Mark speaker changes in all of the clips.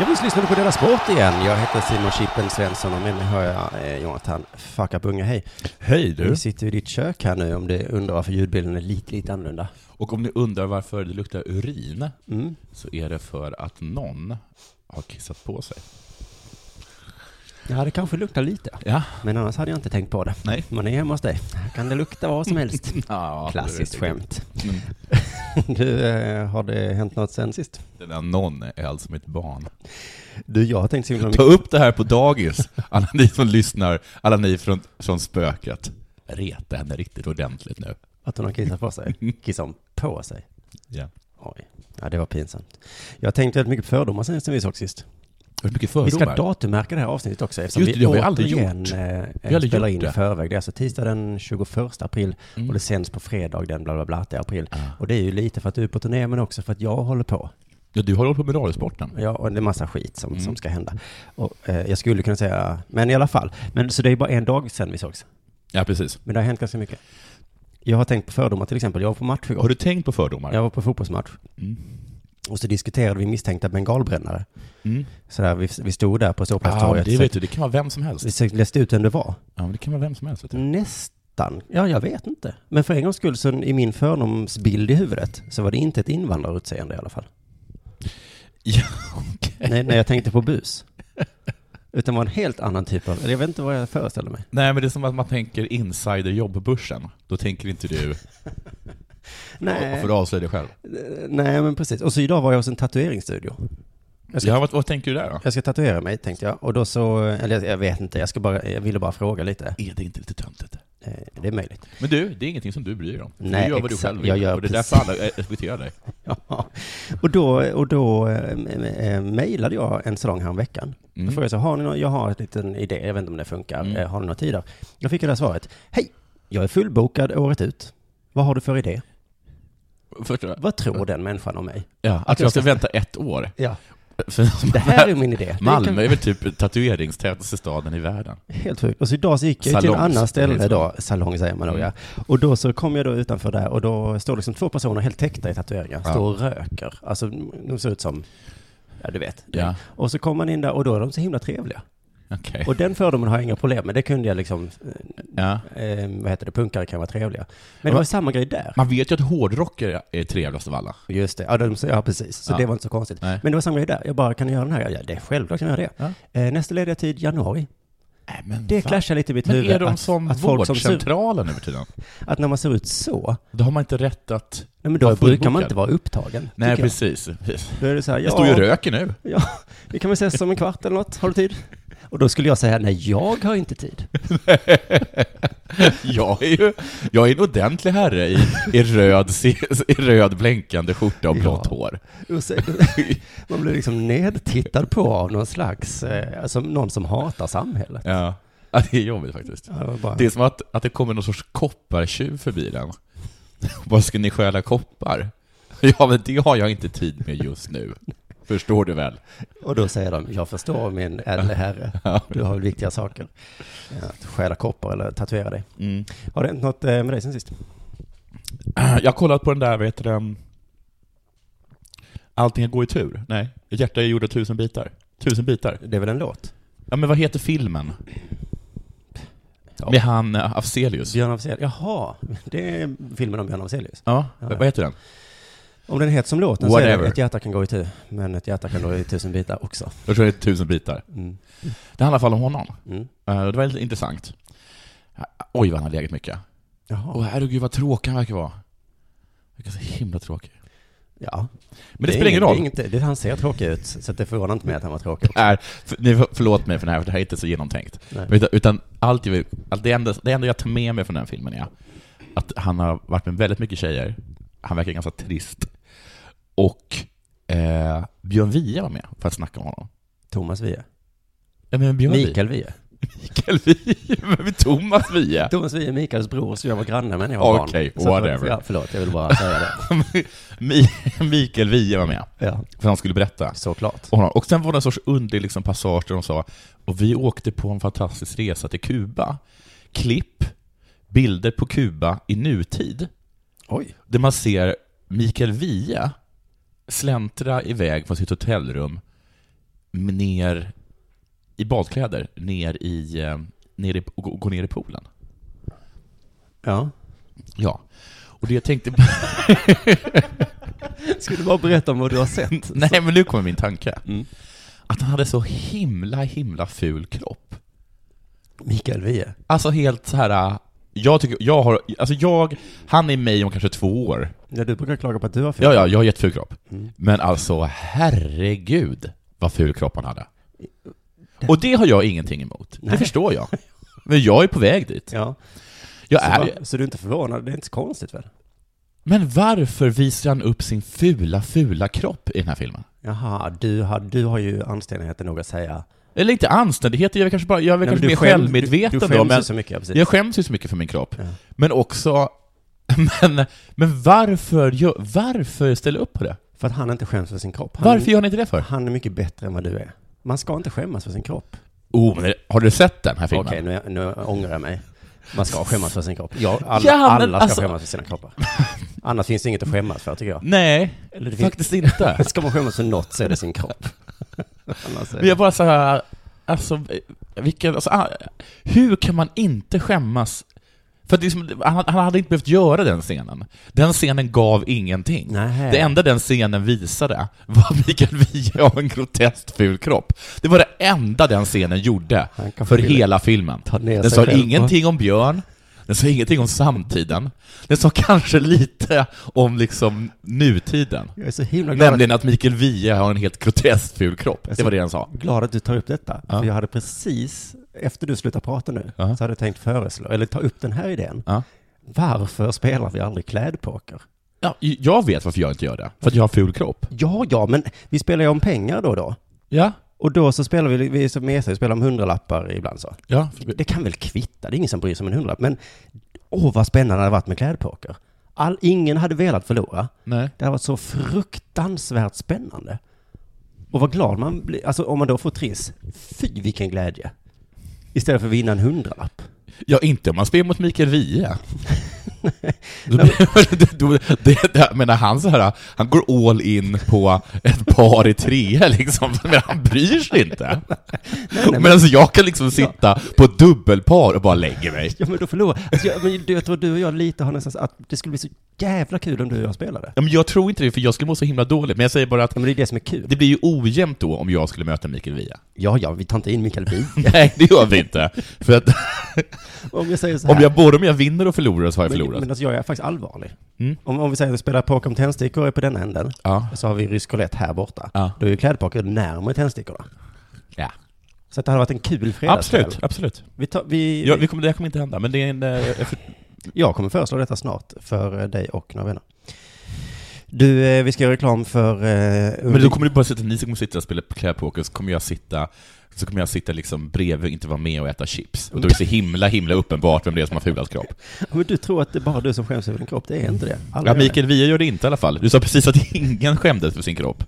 Speaker 1: Ja, visst lyssnar du på Della Sport igen. Jag heter Simon Chippen Svensson och med mig har jag eh, Jonathan Fuckabunga. Hej!
Speaker 2: Hej du!
Speaker 1: Vi sitter i ditt kök här nu om du undrar varför ljudbilden är lite, lite annorlunda.
Speaker 2: Och om ni undrar varför det luktar urin,
Speaker 1: Mm.
Speaker 2: så är det för att någon har kissat på sig.
Speaker 1: Ja, det kanske luktar lite.
Speaker 2: Ja.
Speaker 1: Men annars hade jag inte tänkt på det.
Speaker 2: Nej.
Speaker 1: Man är hemma hos dig. Här kan det lukta vad som helst.
Speaker 2: ja
Speaker 1: Klassiskt
Speaker 2: det är det.
Speaker 1: skämt.
Speaker 2: Mm.
Speaker 1: Du, eh, har det hänt något sen sist?
Speaker 2: Den där någon är alltså mitt barn.
Speaker 1: Du, jag har tänkt så himla
Speaker 2: Ta
Speaker 1: mycket.
Speaker 2: upp det här på dagis, alla ni som lyssnar, alla ni från, från spöket. Reta henne riktigt ordentligt nu.
Speaker 1: Att hon har kissat på sig? Kissat om på sig?
Speaker 2: Ja.
Speaker 1: Oj. Ja, det var pinsamt. Jag har tänkt väldigt mycket på fördomar sen sen vi såg sist.
Speaker 2: Hur mycket
Speaker 1: Vi ska
Speaker 2: fördomar?
Speaker 1: datummärka det här avsnittet också eftersom
Speaker 2: Just det,
Speaker 1: vi
Speaker 2: det har vi aldrig gjort.
Speaker 1: eh,
Speaker 2: har aldrig
Speaker 1: spelar
Speaker 2: gjort
Speaker 1: in i
Speaker 2: det. Mm.
Speaker 1: förväg. Det är alltså tisdag den 21 april och det sänds på fredag den bla bla bla 8 april.
Speaker 2: Ah.
Speaker 1: Och det är ju lite för att du är på turné men också för att jag håller på.
Speaker 2: Ja, du har hållit på med radiosporten.
Speaker 1: Ja, och det är massa skit som,
Speaker 2: Mm.
Speaker 1: som ska hända. Och, eh, jag skulle kunna säga, men i alla fall. Men, så det är bara en dag sedan vi sågs.
Speaker 2: Ja, precis.
Speaker 1: Men det har hänt ganska mycket. Jag har tänkt på fördomar till exempel. Jag var på match igår.
Speaker 2: Har du tänkt på fördomar?
Speaker 1: Jag var på fotbollsmatch. Och så diskuterade vi misstänkta bengalbrännare.
Speaker 2: Mm.
Speaker 1: Sådär, vi, vi stod där på
Speaker 2: Ja, Ah, men
Speaker 1: ståplatstorget.
Speaker 2: det
Speaker 1: Ja,
Speaker 2: vet du, det kan vara vem som helst.
Speaker 1: vi försökte läste ut vem det var.
Speaker 2: Ja, men det kan vara vem som helst. Vet du.
Speaker 1: Nästan. Ja, jag vet inte. Men för en gångs skull, så i min fördomsbild i huvudet, så var det inte ett invandrarutseende i alla fall.
Speaker 2: Ja, okej.
Speaker 1: Nej, när jag tänkte på bus. Utan var en helt annan typ av, eller jag vet inte vad jag föreställde mig.
Speaker 2: Nej, men det är som att man tänker insiderjobbbörsen. Då tänker inte du, och
Speaker 1: Nej,
Speaker 2: får du avslöja dig själv.
Speaker 1: nej men precis. Och så idag var jag hos en tatueringsstudio. Jag ska,
Speaker 2: Ja, vad, vad tänker du där då?
Speaker 1: jag ska tatuera mig, tänkte jag. Och då så, eller jag vet inte, jag, ska bara, jag ville bara fråga lite.
Speaker 2: Är det inte lite töntigt?
Speaker 1: Eh, Det är möjligt.
Speaker 2: Men du, det är ingenting som du bryr dig om. Du
Speaker 1: Nej,
Speaker 2: gör vad du
Speaker 1: exakt.
Speaker 2: själv vill.
Speaker 1: Jag gör
Speaker 2: och det är
Speaker 1: precis.
Speaker 2: därför alla respekterar dig.
Speaker 1: Ja. Och då, och då eh, eh, mejlade jag en salong häromveckan.
Speaker 2: Mm.
Speaker 1: Då frågade jag så, har ni någon, jag har en liten idé, jag vet inte om det funkar, Eh, har ni några tider? Jag fick det här svaret, hej, jag är fullbokad året ut. Vad har du för idé?
Speaker 2: Förstår du?
Speaker 1: Vad tror den människan om mig?
Speaker 2: Ja, att jag ska vänta ett år.
Speaker 1: Ja.
Speaker 2: För-
Speaker 1: Det här är min idé. Det
Speaker 2: Malmö
Speaker 1: kan-
Speaker 2: är väl typ tatueringstätaste staden i världen.
Speaker 1: Helt sjukt. Och så idag så gick jag till
Speaker 2: Salongs-
Speaker 1: ett annat ställe
Speaker 2: heter
Speaker 1: då, salong säger man då ja.
Speaker 2: Mm.
Speaker 1: Och då så kom jag då utanför där och då står liksom två personer helt täckta i tatueringar,
Speaker 2: Ja.
Speaker 1: står och röker. Alltså de ser ut som, ja du vet.
Speaker 2: Ja.
Speaker 1: Och så kommer man in där och då är de så himla trevliga.
Speaker 2: Okej.
Speaker 1: Och den fördomen har jag inga problem med. Det kunde jag liksom,
Speaker 2: Ja.
Speaker 1: eh, vad heter det, punkare kan vara trevliga. Men det var samma grej där.
Speaker 2: Man vet ju att hårdrockare är trevligast av alla.
Speaker 1: Just det, ja, de, ja precis. Så
Speaker 2: Ja.
Speaker 1: det var inte så konstigt.
Speaker 2: Nej.
Speaker 1: Men det var samma grej där. Jag bara, kan jag göra den här? Ja, det är självklart kan jag göra det. Eh, nästa lediga tid, januari.
Speaker 2: Nej, men
Speaker 1: Det
Speaker 2: fan.
Speaker 1: clashar lite i mitt
Speaker 2: Men
Speaker 1: huvud.
Speaker 2: är de som
Speaker 1: folk som ser,
Speaker 2: vårdcentralen nu för tiden?
Speaker 1: att när man ser ut så,
Speaker 2: Då har man inte rätt att...
Speaker 1: nej, men då
Speaker 2: vara
Speaker 1: brukar man
Speaker 2: fullbokad.
Speaker 1: inte vara upptagen.
Speaker 2: Nej,
Speaker 1: tycker jag.
Speaker 2: precis. precis.
Speaker 1: Då är det så här, ja,
Speaker 2: Jag står ju och röker nu.
Speaker 1: ja, vi kan väl ses om en kvart eller något. Har du tid? Och då skulle jag säga, nej, jag har inte tid.
Speaker 2: Jag är ju jag är en ordentlig herre i, i, röd, i röd blänkande skjorta och blått
Speaker 1: Ja.
Speaker 2: hår.
Speaker 1: Ursäkta. Man blir liksom nedtittad på av någon slags, eh, alltså någon som hatar samhället.
Speaker 2: Ja. ja, det är jobbigt faktiskt.
Speaker 1: Ja, det var bara-
Speaker 2: Det är som att, att det kommer någon sorts koppartjuv förbi den. Vad ska ni stjäla koppar? Ja, men det har jag inte tid med just nu. Förstår du väl?
Speaker 1: Och då säger de, jag förstår min ädle herre, du har väl viktiga saker. Ja, Att stjäla koppar eller tatuera dig.
Speaker 2: Mm.
Speaker 1: Har det hänt något eh, med dig sen sist?
Speaker 2: Jag har kollat på den där, vet du den... Allting går i tur? Nej. Hjärta är gjorda tusen bitar. Tusen bitar.
Speaker 1: Det är väl en låt?
Speaker 2: Ja, men vad heter filmen?
Speaker 1: Ja.
Speaker 2: Med han eh, Afzelius.
Speaker 1: Björn Afzelius. Jaha, det är filmen om Björn Afzelius.
Speaker 2: Ja, vad heter den?
Speaker 1: Om den heter som låten så är det
Speaker 2: Whatever.
Speaker 1: ett hjärta kan gå i tu, men ett hjärta kan gå i tusen bitar också.
Speaker 2: Jag tror det är tusen bitar.
Speaker 1: Mm.
Speaker 2: Det handlar i alla fall om honom.
Speaker 1: Mm.
Speaker 2: Eh, Det var lite intressant. Eh, Oj, vad han har legat mycket.
Speaker 1: Jaha.
Speaker 2: Åh, herregud vad tråkig han verkar vara. Verkar så himla tråkig.
Speaker 1: Ja.
Speaker 2: Men det, spelar ingen
Speaker 1: är
Speaker 2: roll.
Speaker 1: inget- Det är inget, det, han ser tråkig ut, så att det förvånar inte mig att han var tråkig.
Speaker 2: Är, för, ni får- förlåt mig för det här, för det här är inte så genomtänkt.
Speaker 1: Nej.
Speaker 2: Utan, utan allt jag, vill- allt det, enda, det enda jag tar med mig från den filmen är att han har varit med väldigt mycket tjejer, han verkar ganska trist, och eh, Björn Wiehe var med för att snacka om honom.
Speaker 1: Thomas Wiehe.
Speaker 2: Ja, men Björn Wiehe.
Speaker 1: Mikael Wiehe.
Speaker 2: Mikael Wiehe? Men vi Thomas Wiehe?
Speaker 1: Thomas Wiehe är Mikaels bror, så jag var granne med när jag var barn.
Speaker 2: Okej,
Speaker 1: Så att-
Speaker 2: whatever.
Speaker 1: Ja, förlåt, jag ville bara säga det.
Speaker 2: Mi- Mikael Wiehe var med,
Speaker 1: Ja,
Speaker 2: för han skulle berätta.
Speaker 1: såklart.
Speaker 2: Och, han, och sen var det en sorts underlig liksom, passage där de sa och vi åkte på en fantastisk resa till Kuba. Klipp, bilder på Kuba i nutid,
Speaker 1: Oj.
Speaker 2: där man ser Mikael Wiehe släntra iväg från sitt hotellrum ner i badkläder, ner i, eh, ner i, och gå- gå ner i poolen.
Speaker 1: Ja.
Speaker 2: Ja. Och det jag tänkte...
Speaker 1: Ska du bara berätta om vad du har sett?
Speaker 2: Nej, men nu kommer min tanke.
Speaker 1: Mm.
Speaker 2: Att han hade så himla, himla ful kropp.
Speaker 1: Mikael Wiehe.
Speaker 2: Alltså helt så här... äh, Jag tycker, jag har, alltså jag, han är mig om kanske två år.
Speaker 1: Ja, du brukar klaga på att du har fel.
Speaker 2: Ja, ja, jag har jätteful kropp.
Speaker 1: Typ. Mm.
Speaker 2: Men alltså, herregud vad ful kropp han hade. Och det har jag ingenting emot. Det
Speaker 1: Nej.
Speaker 2: förstår jag. Men jag är på väg dit.
Speaker 1: Ja.
Speaker 2: Jag
Speaker 1: Så,
Speaker 2: är
Speaker 1: va- så du är inte förvånad? Det är inte så konstigt väl?
Speaker 2: Men varför visar han upp sin fula, fula kropp i den här filmen?
Speaker 1: Jaha, du har, du har ju anständigheten nog att säga...
Speaker 2: Eller inte anständighet, jag är kanske bara, jag är väl
Speaker 1: Nej, men du
Speaker 2: kanske mer
Speaker 1: skäms-
Speaker 2: självmedveten
Speaker 1: du, du
Speaker 2: då,
Speaker 1: skäms ju
Speaker 2: men
Speaker 1: så mycket, ja, precis.
Speaker 2: jag skäms ju så mycket för min kropp.
Speaker 1: Ja.
Speaker 2: Men också, men, men varför, gör- varför ställa upp på det?
Speaker 1: För att han inte skäms för sin kropp. Han,
Speaker 2: Varför gör ni inte det för?
Speaker 1: Han är mycket bättre än vad du är. Man ska inte skämmas för sin kropp.
Speaker 2: Oh, men det- har du sett den här
Speaker 1: Okej,
Speaker 2: filmen?
Speaker 1: nu, nu ångrar jag mig. Man ska skämmas för sin kropp. Ja, alla,
Speaker 2: Ja, men
Speaker 1: alla ska
Speaker 2: alltså-
Speaker 1: skämmas för sina kroppar. Annars finns det inget att skämmas för, tycker jag.
Speaker 2: Nej,
Speaker 1: Eller det finns-
Speaker 2: faktiskt inte.
Speaker 1: Ska man skämmas för något så är det sin kropp. Annars är
Speaker 2: Men jag bara så här, alltså, vilken, alltså, ah, hur kan man inte skämmas? För att det är som, han, han hade inte behövt göra den scenen. Den scenen gav ingenting.
Speaker 1: Nej.
Speaker 2: Det enda den scenen visade var Mikael Wiehe av en groteskt ful kropp. Det var det enda den scenen gjorde
Speaker 1: Han kanske
Speaker 2: för
Speaker 1: ville
Speaker 2: hela filmen.
Speaker 1: ta ner
Speaker 2: Den
Speaker 1: sig
Speaker 2: sa
Speaker 1: själv.
Speaker 2: ingenting om Björn, den sa ingenting om samtiden, den sa kanske lite om liksom nutiden.
Speaker 1: Jag är så himla glad,
Speaker 2: Nämligen att Mikael Wiehe har en helt groteskt ful kropp. Det var det den sa.
Speaker 1: att, glad att du tar upp detta.
Speaker 2: Ja.
Speaker 1: För jag hade precis, efter du slutade prata nu,
Speaker 2: Ja.
Speaker 1: så hade jag tänkt föreslå, eller ta upp den här idén.
Speaker 2: Ja.
Speaker 1: Varför spelar vi aldrig klädpoker?
Speaker 2: Ja, jag vet varför jag inte gör det. För att jag har ful kropp.
Speaker 1: Ja, ja, men vi spelar ju om pengar då och då.
Speaker 2: Ja.
Speaker 1: Och då så spelar vi, vi är så mesiga, vi spelar om hundralappar ibland så.
Speaker 2: ja.
Speaker 1: Det kan väl kvitta, det är ingen som bryr sig om en hundralapp. Men åh vad spännande det hade varit med klädpoker. All, ingen hade velat förlora.
Speaker 2: Nej.
Speaker 1: Det hade varit så fruktansvärt spännande. Och vad glad man blir, alltså om man då får triss, fy vilken glädje. Istället för att vinna en hundralapp.
Speaker 2: Ja, inte om man spelar mot Mikael Wiehe. Då blir- då- det- det- Jag menar, han så här, han går all in på ett par i trea liksom. Men han bryr sig inte. Men alltså jag kan liksom sitta på ett dubbelpar och bara lägger mig.
Speaker 1: Ja men då förlorar, alltså, jag, men, du, jag tror du och jag lite har nästan, att det skulle bli så jävla kul om du och jag spelade.
Speaker 2: Ja, men jag tror inte det, för jag skulle må så himla dåligt. Men jag säger bara att
Speaker 1: Ja men det är det som är kul.
Speaker 2: det blir ju ojämnt då om jag skulle möta Mikael Wiehe.
Speaker 1: Ja, ja, vi tar inte in Mikael Wiehe.
Speaker 2: Nej, det gör vi inte. För att
Speaker 1: Om jag säger så här.
Speaker 2: om jag, både om jag vinner och förlorar så har jag
Speaker 1: Men,
Speaker 2: förlorat.
Speaker 1: men alltså jag är faktiskt allvarlig.
Speaker 2: Mm.
Speaker 1: Om, om vi säger att vi spelar poker med tändstickor och är på den änden,
Speaker 2: Ja.
Speaker 1: så har vi rysk roulette här borta.
Speaker 2: Ja.
Speaker 1: Då är ju klädpoker närmare tändstickorna.
Speaker 2: ja.
Speaker 1: Så att det hade varit en kul fredagskväll.
Speaker 2: Absolut, absolut.
Speaker 1: Vi tar, vi,
Speaker 2: Ja, vi kommer, det här kommer inte hända, men det är en... eh, jag för-
Speaker 1: Jag kommer föreslå detta snart för eh, dig och några vänner. Du, eh, vi ska göra reklam för... Eh,
Speaker 2: Men då kommer det bara sitta, ni som kommer sitta och spela klädpoker, så kommer jag sitta så kommer jag sitta liksom bredvid och inte vara med och äta chips. Och då är det så himla, himla uppenbart vem det är som har fulast kropp.
Speaker 1: Men du tror att det är bara du som skäms över din kropp, det är inte det. Alla
Speaker 2: Ja,
Speaker 1: gör det.
Speaker 2: Mikael Wiehe gör det inte i alla fall. Du sa precis att ingen skämdes för sin kropp.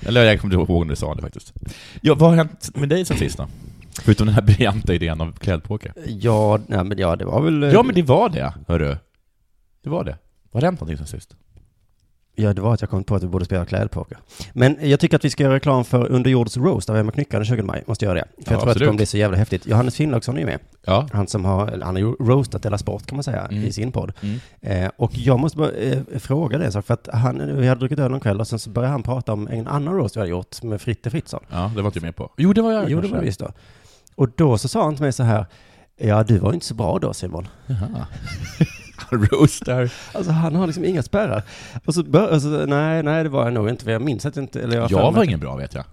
Speaker 2: Eller jag kommer inte ihåg när du sa det faktiskt. Ja, vad har hänt med dig sen sist då? Förutom den här briljanta idén om klädpoker.
Speaker 1: Ja, nej, men ja, det var väl... eh,
Speaker 2: Ja, men det var det, hörru. Det var det. Vad har hänt någonting sen sist?
Speaker 1: Ja, det var att jag kom på att vi borde spela klädpoker. Men jag tycker att vi ska göra reklam för Underjords Roast av Emma Knyckare den 20 maj. Måste göra det. För jag
Speaker 2: Ja,
Speaker 1: tror att det
Speaker 2: absolut.
Speaker 1: kommer bli så jävla häftigt. Johannes Finnlaugsson är ju med.
Speaker 2: Ja.
Speaker 1: Han som har, eller han har ju roastat Della Sport kan man säga
Speaker 2: Mm.
Speaker 1: i sin podd.
Speaker 2: Mm.
Speaker 1: Eh, och jag måste bara eh, fråga det en sak, för att han, vi hade druckit öl någon kväll och sen så började han prata om en annan roast vi hade gjort med Fritte Fritzson.
Speaker 2: Ja, det var inte jag med på. Jo, det var jag
Speaker 1: Jo, det
Speaker 2: kanske.
Speaker 1: var det visst då. Och då så sa han till mig så här, ja du var ju inte så bra då Simon.
Speaker 2: Jaha. Roaster.
Speaker 1: Alltså han har liksom inga spärrar. Och så, bör, och så nej, nej det var jag nog inte, för jag minns att jag inte, eller jag, har för
Speaker 2: Jag
Speaker 1: mig-
Speaker 2: var ingen bra vet jag.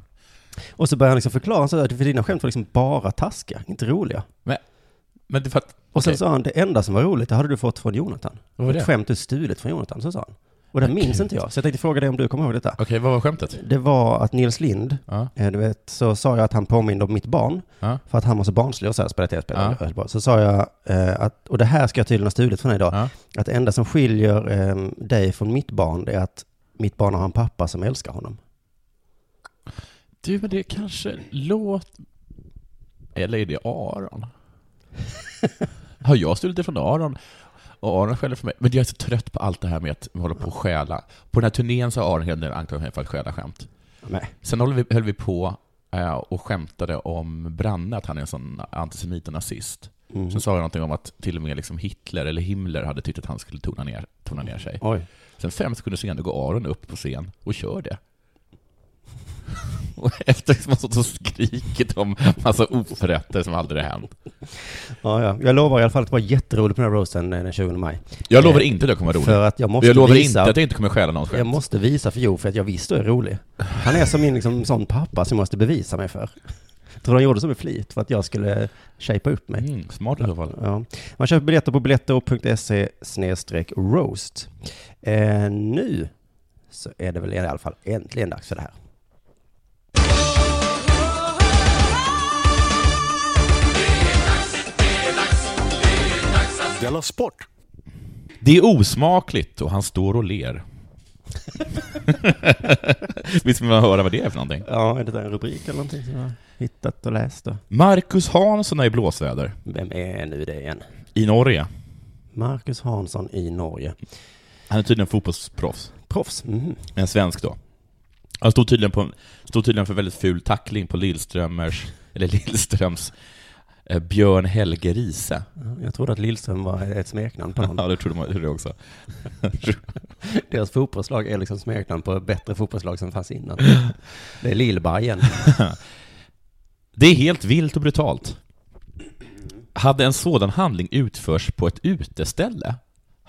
Speaker 1: Och så började han liksom förklara så att för dina skämt var liksom bara taskiga, inte roliga.
Speaker 2: Men det fatt...
Speaker 1: Och sen
Speaker 2: Okej.
Speaker 1: sa han, det enda som var roligt, det hade du fått från Jonathan.
Speaker 2: Vad var
Speaker 1: Ett
Speaker 2: det?
Speaker 1: skämt du stulit från Jonathan, så sa han. Och den
Speaker 2: Men
Speaker 1: minns
Speaker 2: gud.
Speaker 1: inte jag, så jag tänkte fråga dig om du kommer ihåg detta.
Speaker 2: Okej, vad var skämtet?
Speaker 1: Det var att Nils Lind,
Speaker 2: Ja.
Speaker 1: eh, du vet, så sa jag att han påminde om mitt barn,
Speaker 2: Ja.
Speaker 1: för att han var så barnslig och så här spelade tv-spel.
Speaker 2: Ja.
Speaker 1: Jag höll på. Så sa jag, eh, att, och det här ska jag tydligen ha stulit från dig idag,
Speaker 2: Ja.
Speaker 1: att det enda som skiljer eh, dig från mitt barn, det är att mitt barn har en pappa som älskar honom.
Speaker 2: Du, men det kanske låt... Eller är det Aron? Har jag stulit det från Aron? Och Aron skäller för mig. Men jag är så trött på allt det här med att vi håller på och stjäla. På den här turnén så har Aron hela tiden anklagat mig för att stjäla skämt.
Speaker 1: Nej.
Speaker 2: Sen höll vi, höll vi på eh, och skämtade om Branne, att han är en sån antisemit och nazist.
Speaker 1: Mm.
Speaker 2: Sen sa jag någonting om att till och med liksom Hitler eller Himmler hade tyckt att han skulle tona ner, tona ner sig.
Speaker 1: Oj.
Speaker 2: Sen fem sekunder senare går Aron upp på scen och kör det. Och efter att man stått och skrikit om massa oförrätter som aldrig har hänt.
Speaker 1: Ja, ja. Jag lovar i alla fall att det var jätteroligt på den här roasten eh, den 20 maj.
Speaker 2: Jag lovar
Speaker 1: Eh,
Speaker 2: inte att jag kommer vara rolig.
Speaker 1: För att jag måste
Speaker 2: Jag lovar
Speaker 1: visa...
Speaker 2: inte att jag inte kommer stjäla någons
Speaker 1: Jag
Speaker 2: skämt.
Speaker 1: måste visa för Jo för att jag visst är rolig. Han är som min liksom, sån pappa som jag måste bevisa mig för. Tror han gjorde så med flit för att jag skulle shapea upp mig.
Speaker 2: Mm, smart i så fall.
Speaker 1: Ja. Man köper biljetter på biletto.se snedstreck roast. Eh, nu så är det väl i alla fall äntligen dags för det här.
Speaker 3: Della Sport!
Speaker 2: Det är osmakligt och han står och ler. Visst vill man höra vad det är för någonting?
Speaker 1: Ja, är det där en rubrik eller någonting som jag har hittat och läst? Och...
Speaker 2: Marcus Hansson är i blåsväder
Speaker 1: Vem är nu det igen?
Speaker 2: i Norge.
Speaker 1: Marcus Hansson i Norge.
Speaker 2: Han är tydligen fotbollsproffs.
Speaker 1: Proffs. Mhm.
Speaker 2: En svensk då. Han stod tydligen, på, stod tydligen för väldigt ful tackling på Lillströmers, eller Lillströms eh, Björn Helge Riise.
Speaker 1: Jag trodde att Lillström var ett smeknamn på någon.
Speaker 2: Ja, det trodde man trodde jag också.
Speaker 1: Deras fotbollslag är liksom smeknamn på bättre fotbollslag som fanns innan. Det är Lillbajen.
Speaker 2: Det är helt vilt och brutalt. Hade en sådan handling utförts på ett uteställe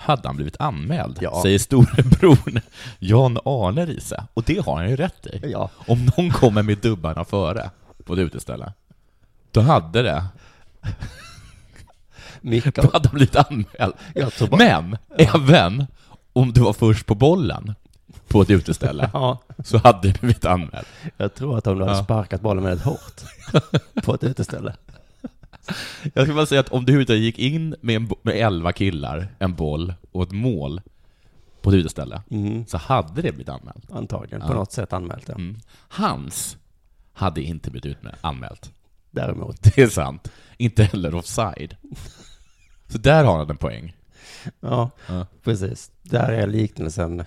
Speaker 2: hade han blivit anmäld,
Speaker 1: Ja.
Speaker 2: säger storebror Jan-Arne Riise. Och det har han ju rätt i.
Speaker 1: Ja.
Speaker 2: Om någon kommer med dubbarna före på ett uteställe, då hade det
Speaker 1: Micke.
Speaker 2: Då hade han blivit anmäld.
Speaker 1: Jag tror bara-
Speaker 2: Men även om du var först på bollen på ett uteställe
Speaker 1: Ja,
Speaker 2: så hade du blivit anmäld.
Speaker 1: jag tror att om du hade
Speaker 2: Ja.
Speaker 1: sparkat bollen väldigt hårt på ett uteställe.
Speaker 2: Jag skulle bara säga att om du ute gick in med, en, bo- med elva killar, en boll och ett mål på ett uteställe
Speaker 1: Mm.
Speaker 2: så hade det blivit anmält.
Speaker 1: Antagligen på något sätt anmält det.
Speaker 2: Mm. Hans hade inte blivit utmä- anmält.
Speaker 1: Däremot.
Speaker 2: Det är sant. Inte heller offside. Så där har han en poäng.
Speaker 1: Ja,
Speaker 2: Ja.
Speaker 1: precis. Där är liknelsen.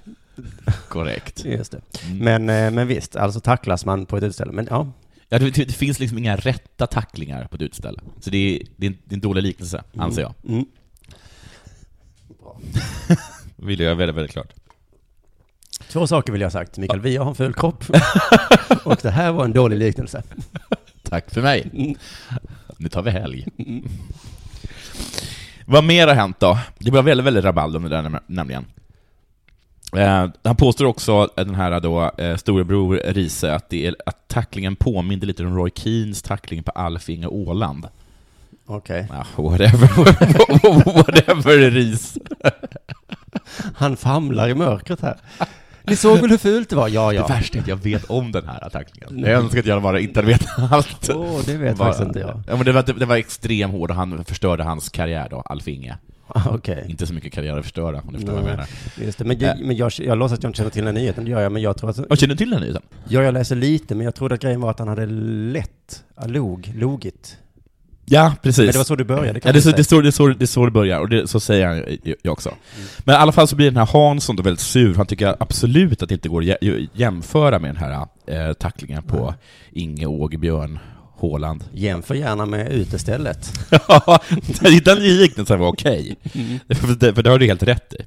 Speaker 2: Korrekt.
Speaker 1: Just det.
Speaker 2: Mm.
Speaker 1: Men, eh, men visst, alltså tacklas man på ett uteställe. Men ja,
Speaker 2: Ja, det, det finns liksom inga rätta tacklingar på ett uteställe. Så det är, det är, en, det är en dålig liknelse, anser jag.
Speaker 1: mm.
Speaker 2: vill jag väldigt, väldigt klart.
Speaker 1: två saker vill jag ha sagt. Mikael, vi har en ful kropp. Och det här var en dålig liknelse.
Speaker 2: Tack för mig.
Speaker 1: Mm.
Speaker 2: Nu tar vi helg. Vad mer har hänt då? Det blev väldigt, väldigt rabalder om det där näm- nämligen. Eh, han påstår också, eh, den här då, eh, storebror Riise, att, det är, att tacklingen påminner lite om Roy Keens tackling på Alf Inge Åland.
Speaker 1: Okej.
Speaker 2: Ah, whatever, whatever Riis.
Speaker 1: Han famlar i mörkret här. Ni såg väl hur fult det var? Ja, ja.
Speaker 2: Det värsta är att jag vet om den här tacklingen. Jag önskar att jag bara inte hade vetat allt.
Speaker 1: Åh, det vet
Speaker 2: Bara-
Speaker 1: faktiskt inte jag.
Speaker 2: Ja, men det, var, det var extremt hård och han förstörde hans karriär då, Alf Inge.
Speaker 1: Ah, Okej.
Speaker 2: Inte så mycket karriär att förstöra, om ni förstår vad jag
Speaker 1: Okay.
Speaker 2: menar.
Speaker 1: Just det, men, jag,
Speaker 2: Äh.
Speaker 1: men jag, jag låtsas att jag inte känner till den här nyheten, det gör jag, men jag tror att...
Speaker 2: Och känner du till den här nyheten?
Speaker 1: Ja, jag läser lite, men jag trodde att grejen var att han hade lätt, ah, log, logit.
Speaker 2: Ja, precis.
Speaker 1: Men det var så du började, kan
Speaker 2: Ja, det, är
Speaker 1: man
Speaker 2: så,
Speaker 1: säga.
Speaker 2: det, är så, det, är så, det är så det börjar, och det, så säger han ju- ju- jag också. Men i alla fall så blir den här Hansson då väldigt sur, han tycker absolut att det inte går att jä- ju- jämföra med den här eh, tacklingen på Inge Ågebjörn Håland.
Speaker 1: Jämför gärna med utestället.
Speaker 2: Ja, den liknelsen var okej. För, det- för det har du helt rätt i.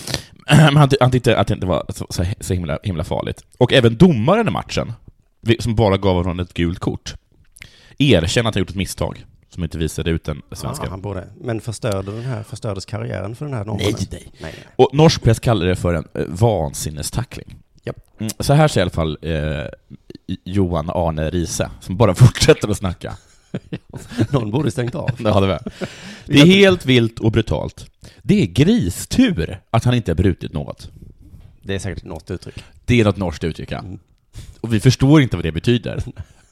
Speaker 2: Men han, ty- han tyckte att det inte var så, så, så himla, himla farligt. Och även domaren i matchen, vi- som bara gav honom ett gult kort, erkänner att han gjort ett misstag som inte visade ut den svenska.
Speaker 1: Ja, Ah, han borde. Men förstörde den här, förstördes karriären för den här norrmannen?
Speaker 2: Nej, nej.
Speaker 1: nej.
Speaker 2: Och norsk press kallar det för en eh, vansinnestackling.
Speaker 1: Japp.
Speaker 2: Mm, Så här säger i alla fall eh, Johan Arne Riise, som bara fortsätter att snacka.
Speaker 1: Någon borde stängt av.
Speaker 2: Det, hade vi. det är helt vilt och brutalt. Det är gristur att han inte har brutit något.
Speaker 1: Det är säkert något uttryck.
Speaker 2: Det är något norskt uttryck, ja.
Speaker 1: Mm.
Speaker 2: Och vi förstår inte vad det betyder.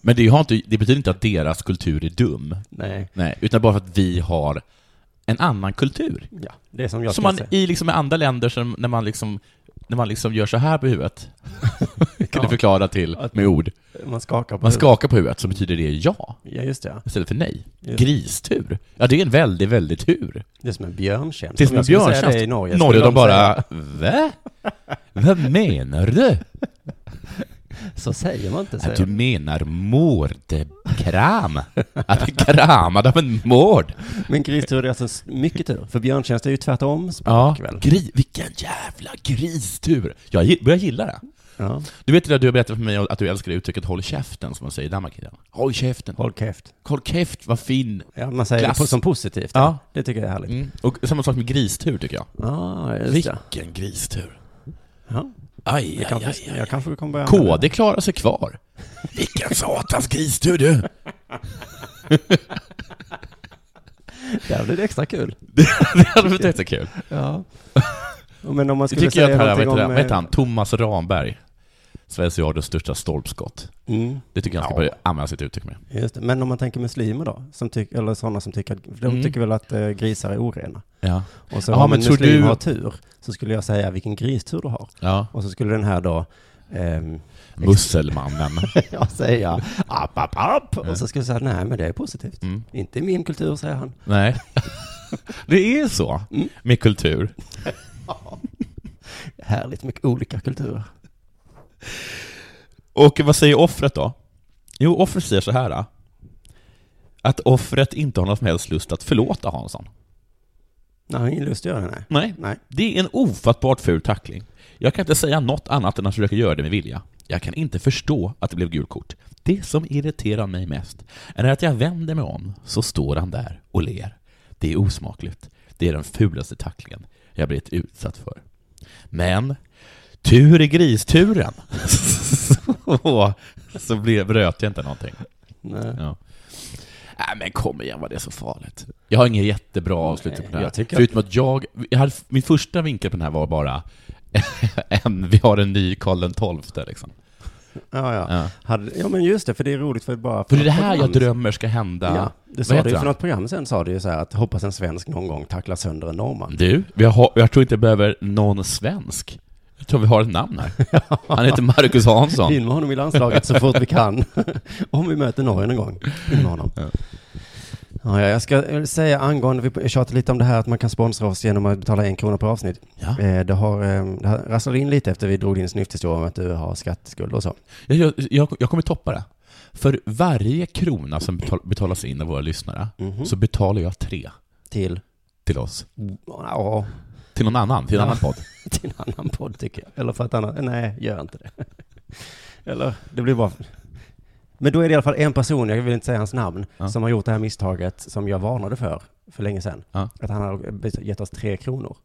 Speaker 2: Men det, har inte, det betyder inte att deras kultur är dum.
Speaker 1: Nej.
Speaker 2: Nej, utan bara för att vi har en annan kultur.
Speaker 1: Ja, det är som jag
Speaker 2: som
Speaker 1: kan
Speaker 2: man
Speaker 1: säga.
Speaker 2: i liksom med andra länder, som, när, man liksom, när man liksom gör så här på huvudet, kan du förklara till med ord.
Speaker 1: Man skakar på
Speaker 2: Man
Speaker 1: huvudet.
Speaker 2: skakar på huvudet, så betyder det ja,
Speaker 1: Ja, just det. Ja.
Speaker 2: istället för nej.
Speaker 1: Just.
Speaker 2: Gristur. Ja, det är en väldigt, väldigt tur.
Speaker 1: Det är som en björntjänst.
Speaker 2: Det är som
Speaker 1: Om
Speaker 2: en
Speaker 1: jag skulle säga
Speaker 2: björntjänst.
Speaker 1: det i Norge.
Speaker 2: Norge,
Speaker 1: skulle
Speaker 2: de
Speaker 1: säga,
Speaker 2: bara, va? Vad menar du?
Speaker 1: Så säger man inte, säger
Speaker 2: Att du menar mordkram? Att bli kramad av en mård?
Speaker 1: de. Men gristur är alltså s- mycket tur. För björntjänst är ju tvärtom
Speaker 2: Ja,
Speaker 1: språk väl?
Speaker 2: gri, vilken jävla gristur! Jag gi- börjar gilla det.
Speaker 1: Ja.
Speaker 2: Du vet det där du har berättat för mig att du älskar det uttrycket 'håll käften' som man säger i Danmark idag. Håll käften!
Speaker 1: Håll käft.
Speaker 2: Håll käft, vad fin!
Speaker 1: Ja, man säger
Speaker 2: Klass.
Speaker 1: det på- som positivt.
Speaker 2: Ja.
Speaker 1: Det tycker jag är härligt.
Speaker 2: Mm. Och samma sak med gristur tycker jag.
Speaker 1: Ja, just det.
Speaker 2: Vilken gristur!
Speaker 1: Ja.
Speaker 2: Aj,
Speaker 1: Jag
Speaker 2: aj, aj,
Speaker 1: kanske,
Speaker 2: aj.
Speaker 1: jag kanske kommer börja använda
Speaker 2: KD klarar sig kvar. Vilken satans gristur du!
Speaker 1: det. Där blir det extra kul.
Speaker 2: Det hade varit jättekul.
Speaker 1: Ja. Men om man
Speaker 2: Det
Speaker 1: skulle
Speaker 2: tycker jag
Speaker 1: säga
Speaker 2: att här,
Speaker 1: någonting
Speaker 2: vet du,
Speaker 1: om...
Speaker 2: det, vad heter
Speaker 1: eh,
Speaker 2: han? Thomas Ramberg. Sveriges Radios största stolpskott.
Speaker 1: Mm,
Speaker 2: Det tycker jag han ska
Speaker 1: Ja.
Speaker 2: börja använda sitt uttryck med.
Speaker 1: just det. Men om man tänker muslimer då? Som tyck, eller sådana som tycker att, för de
Speaker 2: Mm.
Speaker 1: tycker väl att eh, grisar är orena?
Speaker 2: Ja.
Speaker 1: Och så
Speaker 2: Ja,
Speaker 1: om
Speaker 2: men
Speaker 1: en
Speaker 2: tror
Speaker 1: muslim
Speaker 2: du-
Speaker 1: har tur, så skulle jag säga vilken gristur du har.
Speaker 2: ja.
Speaker 1: Och så skulle den här då ehm,
Speaker 2: Musselmannen.
Speaker 1: jag säga app, app, app. Och så skulle jag säga nej, men det är positivt.
Speaker 2: Mm.
Speaker 1: Inte i min kultur, säger han.
Speaker 2: Nej. Det är så
Speaker 1: Mm.
Speaker 2: med kultur.
Speaker 1: Härligt mycket olika kulturer.
Speaker 2: Och vad säger offret då? Jo, offret säger så här. då. Att offret inte har någon som helst lust att förlåta Hansson.
Speaker 1: Nej, jag har ingen lust att göra det, nej.
Speaker 2: Nej.
Speaker 1: Nej.
Speaker 2: Det är en ofattbart ful tackling. Jag kan inte säga något annat än att försöka göra det med vilja. Jag kan inte förstå att det blev gult kort. Det som irriterar mig mest är att jag vänder mig om, så står han där och ler. Det är osmakligt. Det är den fulaste tacklingen jag blivit utsatt för. Men, tur i gristuren! så, så blev, bröt jag inte någonting.
Speaker 1: nej.
Speaker 2: Ja. Nej men kom igen, var det är så farligt? Jag har ingen jättebra avslutning på det här.
Speaker 1: jag tycker att-
Speaker 2: Förutom att jag, jag hade, min första vinkel på den här var bara en, vi har en ny Karl XII liksom.
Speaker 1: Ja, ja.
Speaker 2: Ja.
Speaker 1: Hade, ja, men just det, för det är roligt för bara...
Speaker 2: För det är det här jag
Speaker 1: program-
Speaker 2: drömmer ska hända.
Speaker 1: Ja, det
Speaker 2: Vad
Speaker 1: sa
Speaker 2: heter
Speaker 1: du ju för
Speaker 2: han?
Speaker 1: något program sen, sa du ju så här att hoppas en svensk någon gång tacklar sönder en norrman.
Speaker 2: Du, vi har, jag tror inte jag behöver någon svensk. Jag tror vi har ett namn här. Han heter Marcus Hansson.
Speaker 1: In med honom i landslaget så fort vi kan. Om vi möter Norge någon gång. In med honom. Ja. ja, jag ska säga angående, vi tjatade lite om det här att man kan sponsra oss genom att betala en krona per avsnitt.
Speaker 2: Ja.
Speaker 1: Eh, Det, har, eh, det här rasslade in lite efter vi drog din snyfthistoria om att du har skatteskulder och så.
Speaker 2: Jag, jag, jag, jag kommer toppa det. För varje krona som betal, betalas in av våra lyssnare så betalar jag tre
Speaker 1: Mhm. Till,
Speaker 2: till oss.
Speaker 1: ja,
Speaker 2: Till någon annan, till en
Speaker 1: Ja.
Speaker 2: annan podd.
Speaker 1: till en annan podd tycker jag. Eller för att annat, nej, gör inte det. Eller, det blir bara... Men då är det i alla fall en person, jag vill inte säga hans namn,
Speaker 2: Ja.
Speaker 1: som har gjort det här misstaget som jag varnade för, för länge sedan.
Speaker 2: Ja.
Speaker 1: Att han har bet- gett oss tre kronor.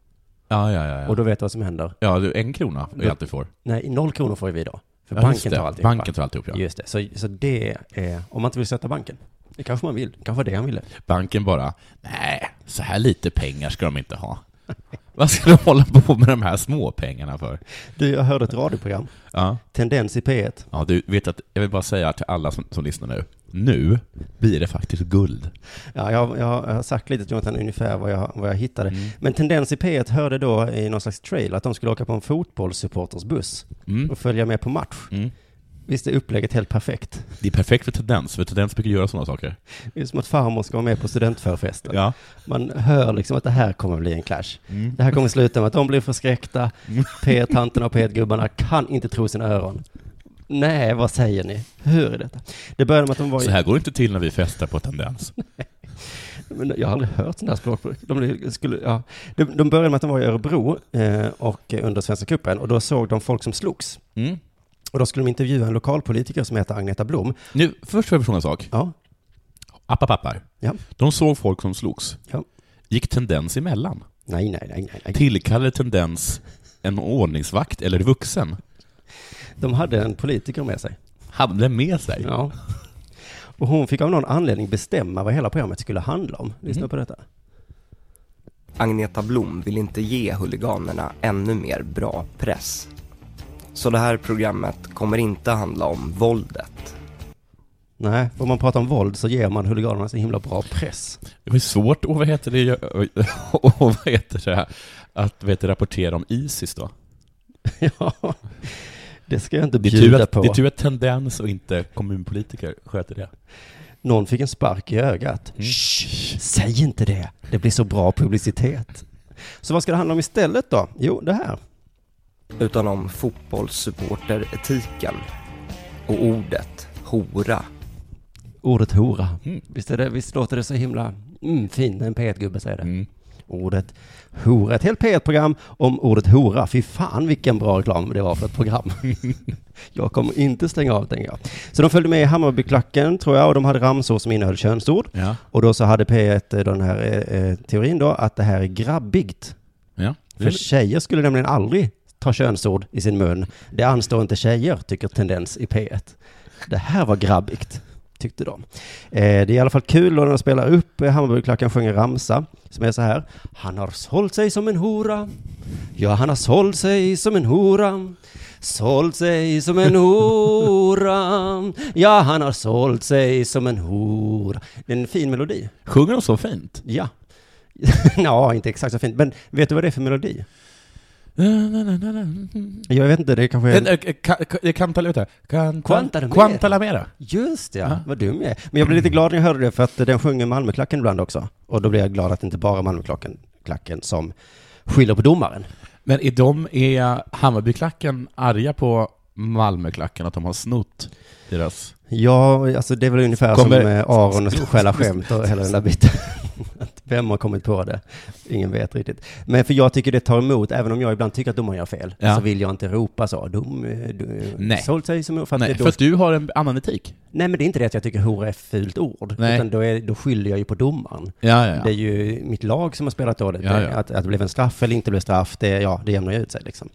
Speaker 2: Ja, ja, ja. ja.
Speaker 1: Och då vet du vad som händer.
Speaker 2: ja du, en krona är allt du får.
Speaker 1: Nej, noll kronor får ju vi då. För
Speaker 2: Ja, just
Speaker 1: banken
Speaker 2: det.
Speaker 1: tar alltihop.
Speaker 2: Banken tar alltihop, ja.
Speaker 1: Just det, så, så det är, om man inte vill stötta banken. Det kanske man vill, kanske var det han ville.
Speaker 2: Banken bara, nej, så här lite pengar ska de inte ha. Vad ska de hålla på med de här små pengarna för?
Speaker 1: Du, jag hörde ett radioprogram,
Speaker 2: Ja,
Speaker 1: Tendens i P1.
Speaker 2: ja du vet att, jag vill bara säga till alla som, som lyssnar nu, nu blir det faktiskt guld.
Speaker 1: Ja, jag, jag har sagt lite till Jonathan ungefär vad jag, vad jag hittade.
Speaker 2: Mm.
Speaker 1: Men Tendens i P1 hörde då i någon slags trail att de skulle åka på en fotbollssupportersbuss
Speaker 2: Mm.
Speaker 1: och följa med på match.
Speaker 2: Mm.
Speaker 1: Visst är upplägget helt perfekt?
Speaker 2: Det är perfekt för Tendens, för Tendens brukar göra sådana saker.
Speaker 1: Det är som att farmor ska vara med på studentförfesten.
Speaker 2: Ja. Mm.
Speaker 1: Man hör liksom att det här kommer bli en clash. Det här kommer sluta med att de blir förskräckta. P1-tanterna och P1-gubbarna kan inte tro sina öron. Nej, vad säger ni? Hur är detta? Det började med att de var... i-
Speaker 2: Så här går det inte till när vi festar på Tendens.
Speaker 1: Men jag har aldrig hört sådana här språkbruk. De, skulle, ja. de, de började med att de var i Örebro eh, och eh, under Svenska cupen och då såg de folk som slogs.
Speaker 2: Mm.
Speaker 1: Och då skulle de intervjua en lokalpolitiker som heter Agneta Blom.
Speaker 2: Nu, först får jag fråga en sak.
Speaker 1: Ja,
Speaker 2: Appapappar.
Speaker 1: Ja.
Speaker 2: De såg folk som slogs.
Speaker 1: Ja.
Speaker 2: Gick Tendens emellan?
Speaker 1: nej, nej, nej, nej, nej.
Speaker 2: Tillkallade Tendens en ordningsvakt eller vuxen?
Speaker 1: De hade en politiker med sig.
Speaker 2: Hade den med sig?
Speaker 1: Ja. Och hon fick av någon anledning bestämma vad hela programmet skulle handla om. Lyssna
Speaker 2: Mhm.
Speaker 1: på detta.
Speaker 3: Agneta Blom vill inte ge huliganerna ännu mer bra press. Så det här programmet kommer inte handla om våldet.
Speaker 1: Nej, om man pratar om våld så ger man huliganerna så himla bra press.
Speaker 2: Det var ju svårt att, vad heter det, och vad heter det, att vad heter, det, rapportera om Isis då.
Speaker 1: ja, det ska jag inte
Speaker 2: Det är, tur
Speaker 1: bjuda
Speaker 2: att,
Speaker 1: på.
Speaker 2: det är tur att Tendens och inte kommunpolitiker sköter det.
Speaker 1: Någon fick en spark i ögat.
Speaker 2: Mm.
Speaker 1: Shh, säg inte det. Det blir så bra publicitet. Så vad ska det handla om istället då? Jo, det här.
Speaker 3: Utan om fotbollssupporteretiken. Och ordet hora.
Speaker 1: Ordet hora.
Speaker 2: Mm.
Speaker 1: Visst, är det, visst låter det så himla mm, fint när en P1-gubbe säger det?
Speaker 2: Mm.
Speaker 1: Ordet hora. Ett helt P1-program om ordet hora. Fy fan vilken bra reklam det var för ett program. jag kommer inte stänga av, tänker jag. Så de följde med i Hammarbyklacken, tror jag, och de hade ramsor som innehöll könsord.
Speaker 2: Ja.
Speaker 1: Och då så hade P1 då den här eh, eh, teorin då, att det här är grabbigt.
Speaker 2: ja.
Speaker 1: För tjejer skulle nämligen aldrig ta könsord i sin mun. Det anstår inte tjejer, tycker Tendens i P1. Det här var grabbigt, tyckte de. Eh, det är i alla fall kul när de spelar upp eh, Hammarbyklacken sjunger ramsa, som är så här. Han har sålt sig som en hora. Ja, han har sålt sig som en hora. Sålt sig som en hora. Ja, han har sålt sig som en hora. Det är en fin melodi.
Speaker 2: Sjunger de så fint?
Speaker 1: Ja. ja, inte exakt så fint. Men vet du vad det är för melodi? Jag vet inte, det kanske
Speaker 2: eh,
Speaker 1: är...
Speaker 2: Det kan ta lite.
Speaker 1: Quantalamera.
Speaker 2: Quantalamera.
Speaker 1: Just ja, Mm.
Speaker 2: Ja.
Speaker 1: vad dum jag är. Men jag blev lite glad när jag hörde det, för att den sjunger Malmöklacken ibland också. Och då blev jag glad att det inte bara är Malmöklacken klacken som skyller på domaren.
Speaker 2: Men är de, är Hammarbyklacken arga på Malmöklacken att de har snott deras...
Speaker 1: Ja, alltså det är väl ungefär
Speaker 2: Kommer-
Speaker 1: som eh, Aron och stjäla skämt och hela den där biten. Att Vem har kommit på det? Ingen vet riktigt. Men för jag tycker det tar emot, även om jag ibland tycker att domaren gör fel,
Speaker 2: Ja.
Speaker 1: så vill jag inte ropa så. Dom, eh, du,
Speaker 2: Nej.
Speaker 1: sålt sig som för att
Speaker 2: Nej,
Speaker 1: det, då
Speaker 2: för att du har en annan etik.
Speaker 1: Nej, men det är inte det att jag tycker hora är ett fult ord.
Speaker 2: Nej.
Speaker 1: Utan då, är, då skyller jag ju på domaren.
Speaker 2: Ja, ja, ja.
Speaker 1: Det är ju mitt lag som har spelat dåligt.
Speaker 2: Ja, ja.
Speaker 1: Att, att det blev en straff eller inte blev straff, det, ja, det jämnar ju ut sig liksom.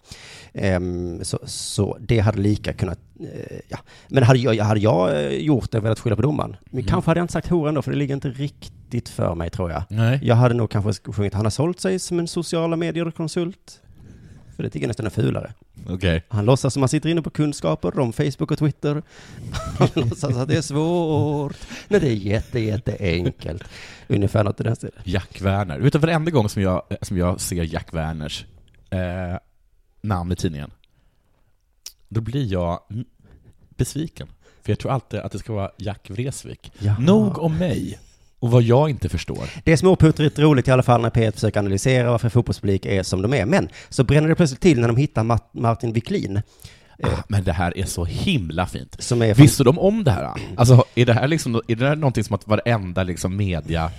Speaker 1: Ehm, så, så det hade lika kunnat, eh, ja. Men hade jag, hade jag eh, gjort det, velat skylla på domaren. Men
Speaker 2: Mm.
Speaker 1: kanske hade jag inte sagt hora ändå, för det ligger inte riktigt för mig tror jag.
Speaker 2: Nej.
Speaker 1: Jag hade nog kanske sjungit Han har sålt sig som en sociala medier-konsult. För det tycker jag nästan är fulare.
Speaker 2: Okej.
Speaker 1: Han låtsas som han sitter inne på kunskaper om Facebook och Twitter. Han låtsas att det är svårt. Nej, det är jätte, jätteenkelt. Ungefär något i den stilen.
Speaker 2: Jack Werner. Vet du, varenda gång som jag, som jag ser Jack Werners eh, namn i tidningen, då blir jag mm, besviken. För jag tror alltid att det ska vara Jack Vresvik.
Speaker 1: Ja.
Speaker 2: Nog om mig och vad jag inte förstår.
Speaker 1: Det är småputtrigt roligt i alla fall när P1 försöker analysera varför fotbollspublik är som de är. Men så bränner det plötsligt till när de hittar Mart- Martin Wiklin.
Speaker 2: Ah, men det här är så himla fint.
Speaker 1: Som är
Speaker 2: Visste de om det här? Alltså, är det här, liksom, är det här någonting som att varenda liksom, media,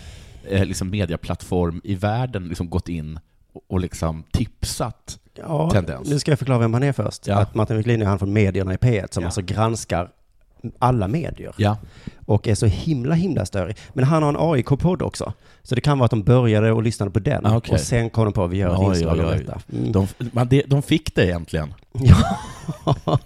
Speaker 2: eh, liksom, mediaplattform i världen liksom, gått in och, och liksom tipsat?
Speaker 1: Ja,
Speaker 2: Tendens.
Speaker 1: nu ska jag förklara vem han är först.
Speaker 2: Ja.
Speaker 1: Att Martin Wiklin är han från medierna i P1 som
Speaker 2: Ja.
Speaker 1: alltså granskar alla medier.
Speaker 2: Ja.
Speaker 1: och är så himla, himla störig. Men han har en AIK-podd också. Så det kan vara att de började och lyssnade på den.
Speaker 2: Ah, okej.
Speaker 1: Och sen kom de på att vi gör ett
Speaker 2: Oj,
Speaker 1: inslag
Speaker 2: oj,
Speaker 1: om
Speaker 2: oj.
Speaker 1: detta. Mm.
Speaker 2: De, man, de, de fick det egentligen.
Speaker 1: Ja,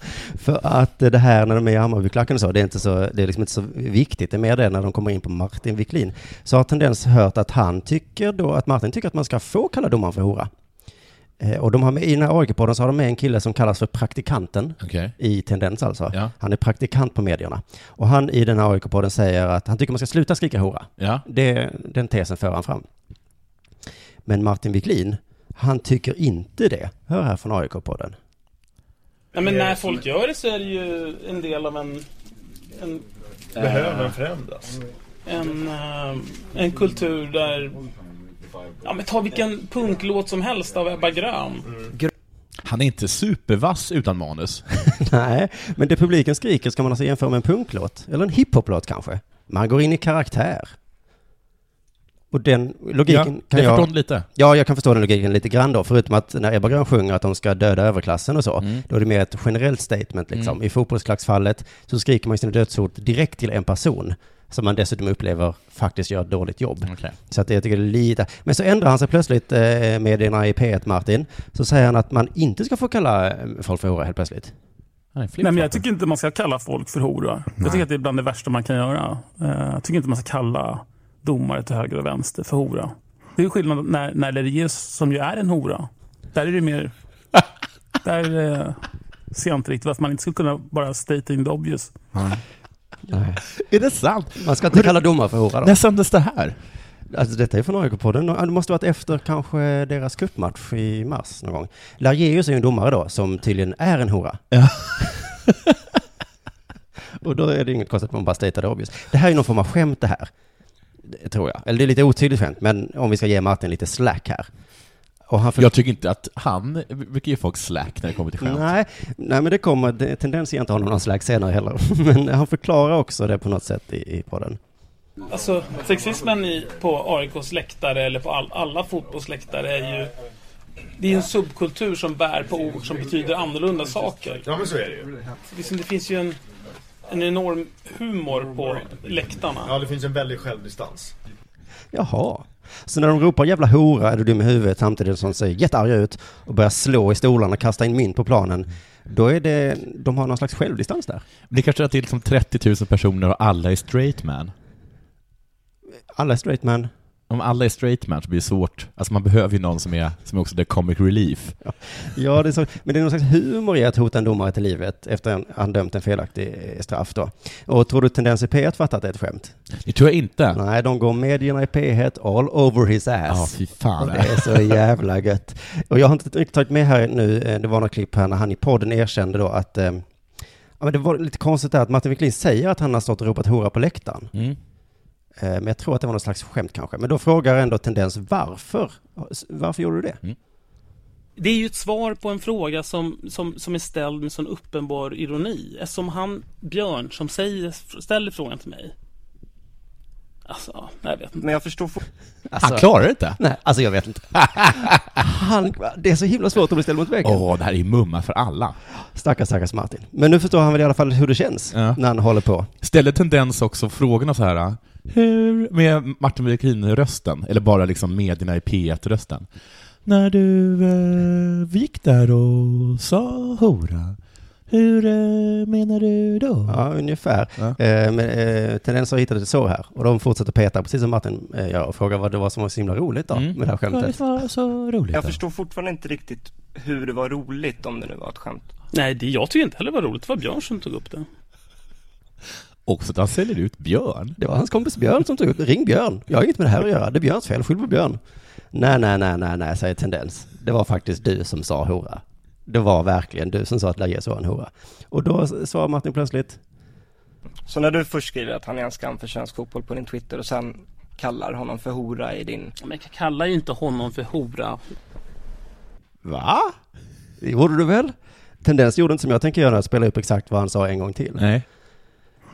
Speaker 1: för att eh, det här när de är i Hammarbyklacken och så, det är, inte så, det är liksom inte så viktigt. Det är mer det när de kommer in på Martin Wiklin. Så har Tendens hört att han tycker då, att Martin tycker att man ska få kalla domaren för hora. Eh, Och de har med, i den här AIK-podden så har de med en kille som kallas för praktikanten
Speaker 2: Okej.
Speaker 1: i Tendens alltså.
Speaker 2: Ja.
Speaker 1: Han är praktikant på medierna. Och han i den här AIK-podden säger att han tycker man ska sluta skrika hora.
Speaker 2: Ja.
Speaker 1: Det, den tesen för han fram. Men Martin Wiklin, han tycker inte det. Hör här från AIK-podden.
Speaker 4: Ja,
Speaker 5: Eh,
Speaker 4: men när folk gör det så är det ju en del av en... en
Speaker 5: Behöver förändras.
Speaker 4: en, eh, en kultur där... Ja, men ta vilken punklåt som helst av Ebba Grön.
Speaker 2: Han är inte supervass utan manus.
Speaker 1: Nej, men det publiken skriker ska man alltså jämföra med en punklåt. Eller en hiphoplåt kanske. Man går in i karaktär. Och den
Speaker 2: Ja,
Speaker 1: logiken kan
Speaker 2: jag
Speaker 1: jag...
Speaker 2: förstår det lite.
Speaker 1: Ja, jag kan förstå den logiken lite grann då, förutom att när Ebba Grön sjunger att de ska döda överklassen och så,
Speaker 2: Mm.
Speaker 1: då är det mer ett generellt statement liksom. I fotbollsklacksfallet så skriker man ju sina dödshot direkt till en person som man dessutom upplever faktiskt gör ett dåligt jobb.
Speaker 2: Okej.
Speaker 1: Så att jag tycker det är lite... Men så ändrar han sig plötsligt eh, medierna i P1, Martin. Så säger han att man inte ska få kalla eh, folk för hora helt plötsligt.
Speaker 2: Han är en
Speaker 6: Nej, men
Speaker 2: flip-flopper.
Speaker 6: jag tycker inte man ska kalla folk för hora. Jag tycker att det är bland det värsta man kan göra. Eh, Jag tycker inte man ska kalla domare till höger och vänster för hora. Det är ju skillnad när, när Lerius, som ju är en hora, där är det mer... Där, eh, ser jag inte riktigt varför man inte skulle kunna bara stating the obvious.
Speaker 1: Nej.
Speaker 2: Är det sant?
Speaker 1: Man ska inte kalla domar för hora då.
Speaker 2: När sändes det här?
Speaker 1: Alltså detta är från AIK-podden. Det måste varit efter kanske deras cupmatch i mars någon gång. Largeus är ju en domare då, som tydligen är en hora.
Speaker 2: Ja.
Speaker 1: Och då är det ju inget konstigt att man bara statear det obvious. Det här är ju någon form av skämt det här. Det tror jag. Eller det är lite otydligt skämt, men om vi ska ge Martin lite slack här. Och han för-
Speaker 2: Jag tycker inte att han brukar ge folk slack när det kommer till skämt.
Speaker 1: Nej, nej, men det kommer det är tendens att inte ha någon slags senare heller. Men han förklarar också det på något sätt i, i podden.
Speaker 4: Alltså, sexismen i, på AIKs läktare eller på all, alla fotbollsläktare är ju... Det är en subkultur som bär på ord som betyder annorlunda saker.
Speaker 5: Ja men så är det ju.
Speaker 4: Liksom, det finns ju en, en enorm humor på läktarna.
Speaker 5: Ja det finns en väldig självdistans.
Speaker 1: Jaha. Så när de ropar jävla hora är du dum i huvudet samtidigt som de ser jättearga ut och börjar slå i stolarna och kasta in mynt på planen. Då är det, de har någon slags självdistans där.
Speaker 2: Det kanske är till som 30 000 personer och alla är straight man.
Speaker 1: Alla är straight man.
Speaker 2: Om alla är straight man så blir det svårt. Alltså man behöver ju någon som är, som är också the comic relief.
Speaker 1: Ja, det är så, men det är någon slags humor i att hota en domare till livet efter att han dömt en felaktig eh, straff då. Och tror du Tendens i P1 fattar att det är ett skämt?
Speaker 2: Det tror jag inte.
Speaker 1: Nej, de går medierna i P1 all over his
Speaker 2: Ja,
Speaker 1: ass.
Speaker 2: fy fan.
Speaker 1: Det är så jävla gött. Och jag har inte riktigt tagit med här nu, eh, det var något klipp här när han i podden erkände då att eh, Ja, men det var lite konstigt där att Martin Wiklin säger att han har stått och ropat hora på läktaren.
Speaker 2: Mm.
Speaker 1: Eh, Men jag tror att det var någon slags skämt kanske. Men då frågar ändå Tendens varför. Varför gjorde du det?
Speaker 2: Mm.
Speaker 4: Det är ju ett svar på en fråga som, som, som är ställd med sån uppenbar ironi. Eftersom han, Björn, som säger, ställer frågan till mig. Alltså, jag vet inte.
Speaker 7: Men jag förstår
Speaker 2: Han klarar det inte.
Speaker 1: Alltså, Nej, alltså jag vet inte. Han, det är så himla svårt att bli ställd mot väggen.
Speaker 2: Åh, det här är ju mumma för alla.
Speaker 1: Stackars, stackars Martin. Men nu förstår han väl i alla fall hur det känns
Speaker 2: Ja.
Speaker 1: när han håller på.
Speaker 2: Ställer tendens också frågorna så här, hur, med Martin Wiklin-rösten, eller bara liksom medierna i P1-rösten. När du eh, gick där och sa hora, hur eh, menar du då?
Speaker 1: Ja, ungefär.
Speaker 2: Ja.
Speaker 1: Eh, men eh, Tendens har hittat ett sår här. Och de fortsätter peta, precis som Martin eh, gör, och frågar vad det var som var så himla roligt då,
Speaker 2: Mm.
Speaker 1: med det här skämtet.
Speaker 2: var så roligt.
Speaker 7: Jag förstår fortfarande inte riktigt hur det var roligt om det nu var ett skämt.
Speaker 4: Nej, det, jag tycker inte heller det var roligt. Det var Björn som tog upp det.
Speaker 2: Också att han säljer ut björn.
Speaker 1: Det var hans kompis Björn som tog upp Ring Björn. Jag har inget med det här att göra. Det är Björns fel. Skyll på Björn. Nej, nej, nej, nej, nej, säger Tendens. Det var faktiskt du som sa hora. Det var verkligen du som sa att Lajes var en hora. Och då s- sa Martin plötsligt,
Speaker 7: Så när du först skriver att han är en skam för svensk fotboll på din Twitter och sen kallar honom för hora i din...
Speaker 4: Men jag kallar ju inte honom för hora.
Speaker 2: Va?
Speaker 1: det gjorde du väl? Tendens gjorde inte som jag tänker göra, spela upp exakt vad han sa en gång till.
Speaker 2: Nej.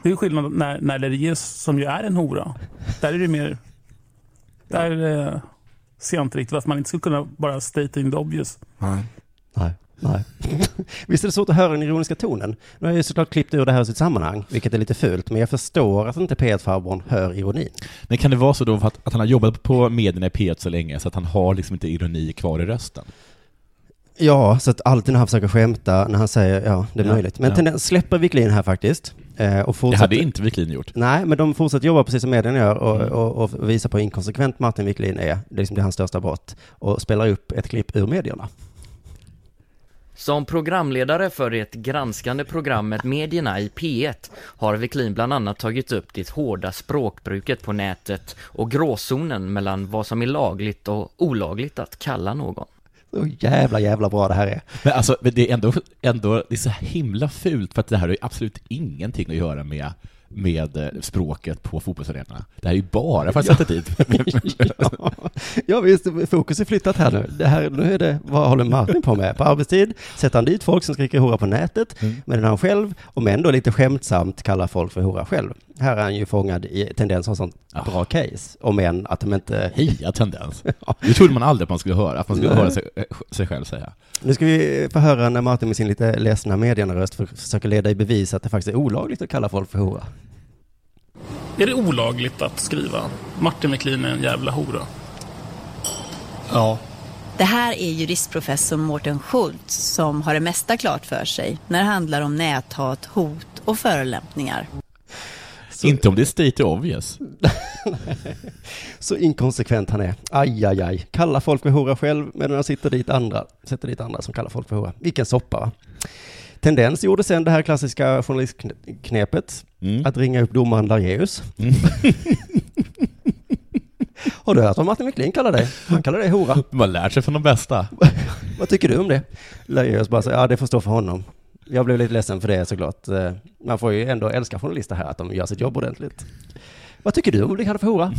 Speaker 6: Det är ju skillnad när, när Lerius, som ju är en hora, där är det mer... Där eh, ser jag inte riktigt varför man inte skulle kunna bara stating the obvious.
Speaker 1: Nej. Nej. Visst är det svårt att höra den ironiska tonen? Nu har jag ju såklart klippt ur det här ur sitt sammanhang, vilket är lite fult, men jag förstår att inte P1-farbrorn hör ironin.
Speaker 2: Men kan det vara så då för att, att han har jobbat på medierna i P1 så länge så att han har liksom inte ironi kvar i rösten?
Speaker 1: Ja, så att alltid när han försöker skämta, när han säger ja, det är
Speaker 2: Ja,
Speaker 1: möjligt. Men
Speaker 2: ja.
Speaker 1: tendens släpper Wiklin här faktiskt. eh, Och
Speaker 2: Det
Speaker 1: fortsätter,
Speaker 2: hade inte Wiklin gjort.
Speaker 1: Nej, men de fortsätter jobba precis som medierna gör och, och, och visar på hur inkonsekvent Martin Wiklin är. Det är liksom det hans största brott. Och spelar upp ett klipp ur medierna.
Speaker 8: Som programledare för det granskande programmet Medierna i P1 har Wiklin bland annat tagit upp det hårda språkbruket på nätet och gråzonen mellan vad som är lagligt och olagligt att kalla någon.
Speaker 1: Så jävla, jävla bra det här är.
Speaker 2: Men alltså, men det är ändå, ändå det är så himla fult för att det här har ju absolut ingenting att göra med, med eh, språket på fotbollsarenorna. Det här är ju bara för att sätta dit.
Speaker 1: ja. ja visst, fokus är flyttat här nu. Det här, nu är det, vad håller Martin på med? På arbetstid sätter han dit folk som skriker hora på nätet, men han själv, om ändå lite skämtsamt, kallar folk för hora själv. Här är han ju fångad i tendens av sånt bra case, om än att de inte...
Speaker 2: Heja tendens. Det trodde man aldrig att man skulle höra, att man skulle
Speaker 1: Nej.
Speaker 2: höra sig, eh, sig själv säga.
Speaker 1: Nu ska vi få höra när Martin med sin lite ledsna medieröst försöker leda i bevis att det faktiskt är olagligt att kalla folk för hora.
Speaker 6: Är det olagligt att skriva Martin Wiklin är en jävla hora?
Speaker 9: Ja.
Speaker 10: Det här är juristprofessor Mårten Schultz som har det mesta klart för sig när det handlar om näthat, hot och förolämpningar.
Speaker 2: Inte om det är state obvious.
Speaker 1: Så inkonsekvent han är. Aj, aj, aj. Kallar folk för hora själv, medan han sitter dit andra, sätter dit andra som kallar folk för hora. Vilken soppa, va? Tendens gjorde sen det här klassiska journalistknepet, att ringa upp domaren Lareus. Har du hört vad Martin McLean kallar dig? Han kallar dig hora.
Speaker 2: Man lär sig från de bästa.
Speaker 1: vad tycker du om det? Lareus bara säger, ja det får stå för honom. Jag blev lite ledsen för det såklart. Eh, Man får ju ändå älska journalister här, att de gör sitt jobb ordentligt. Vad tycker du om det här för hora?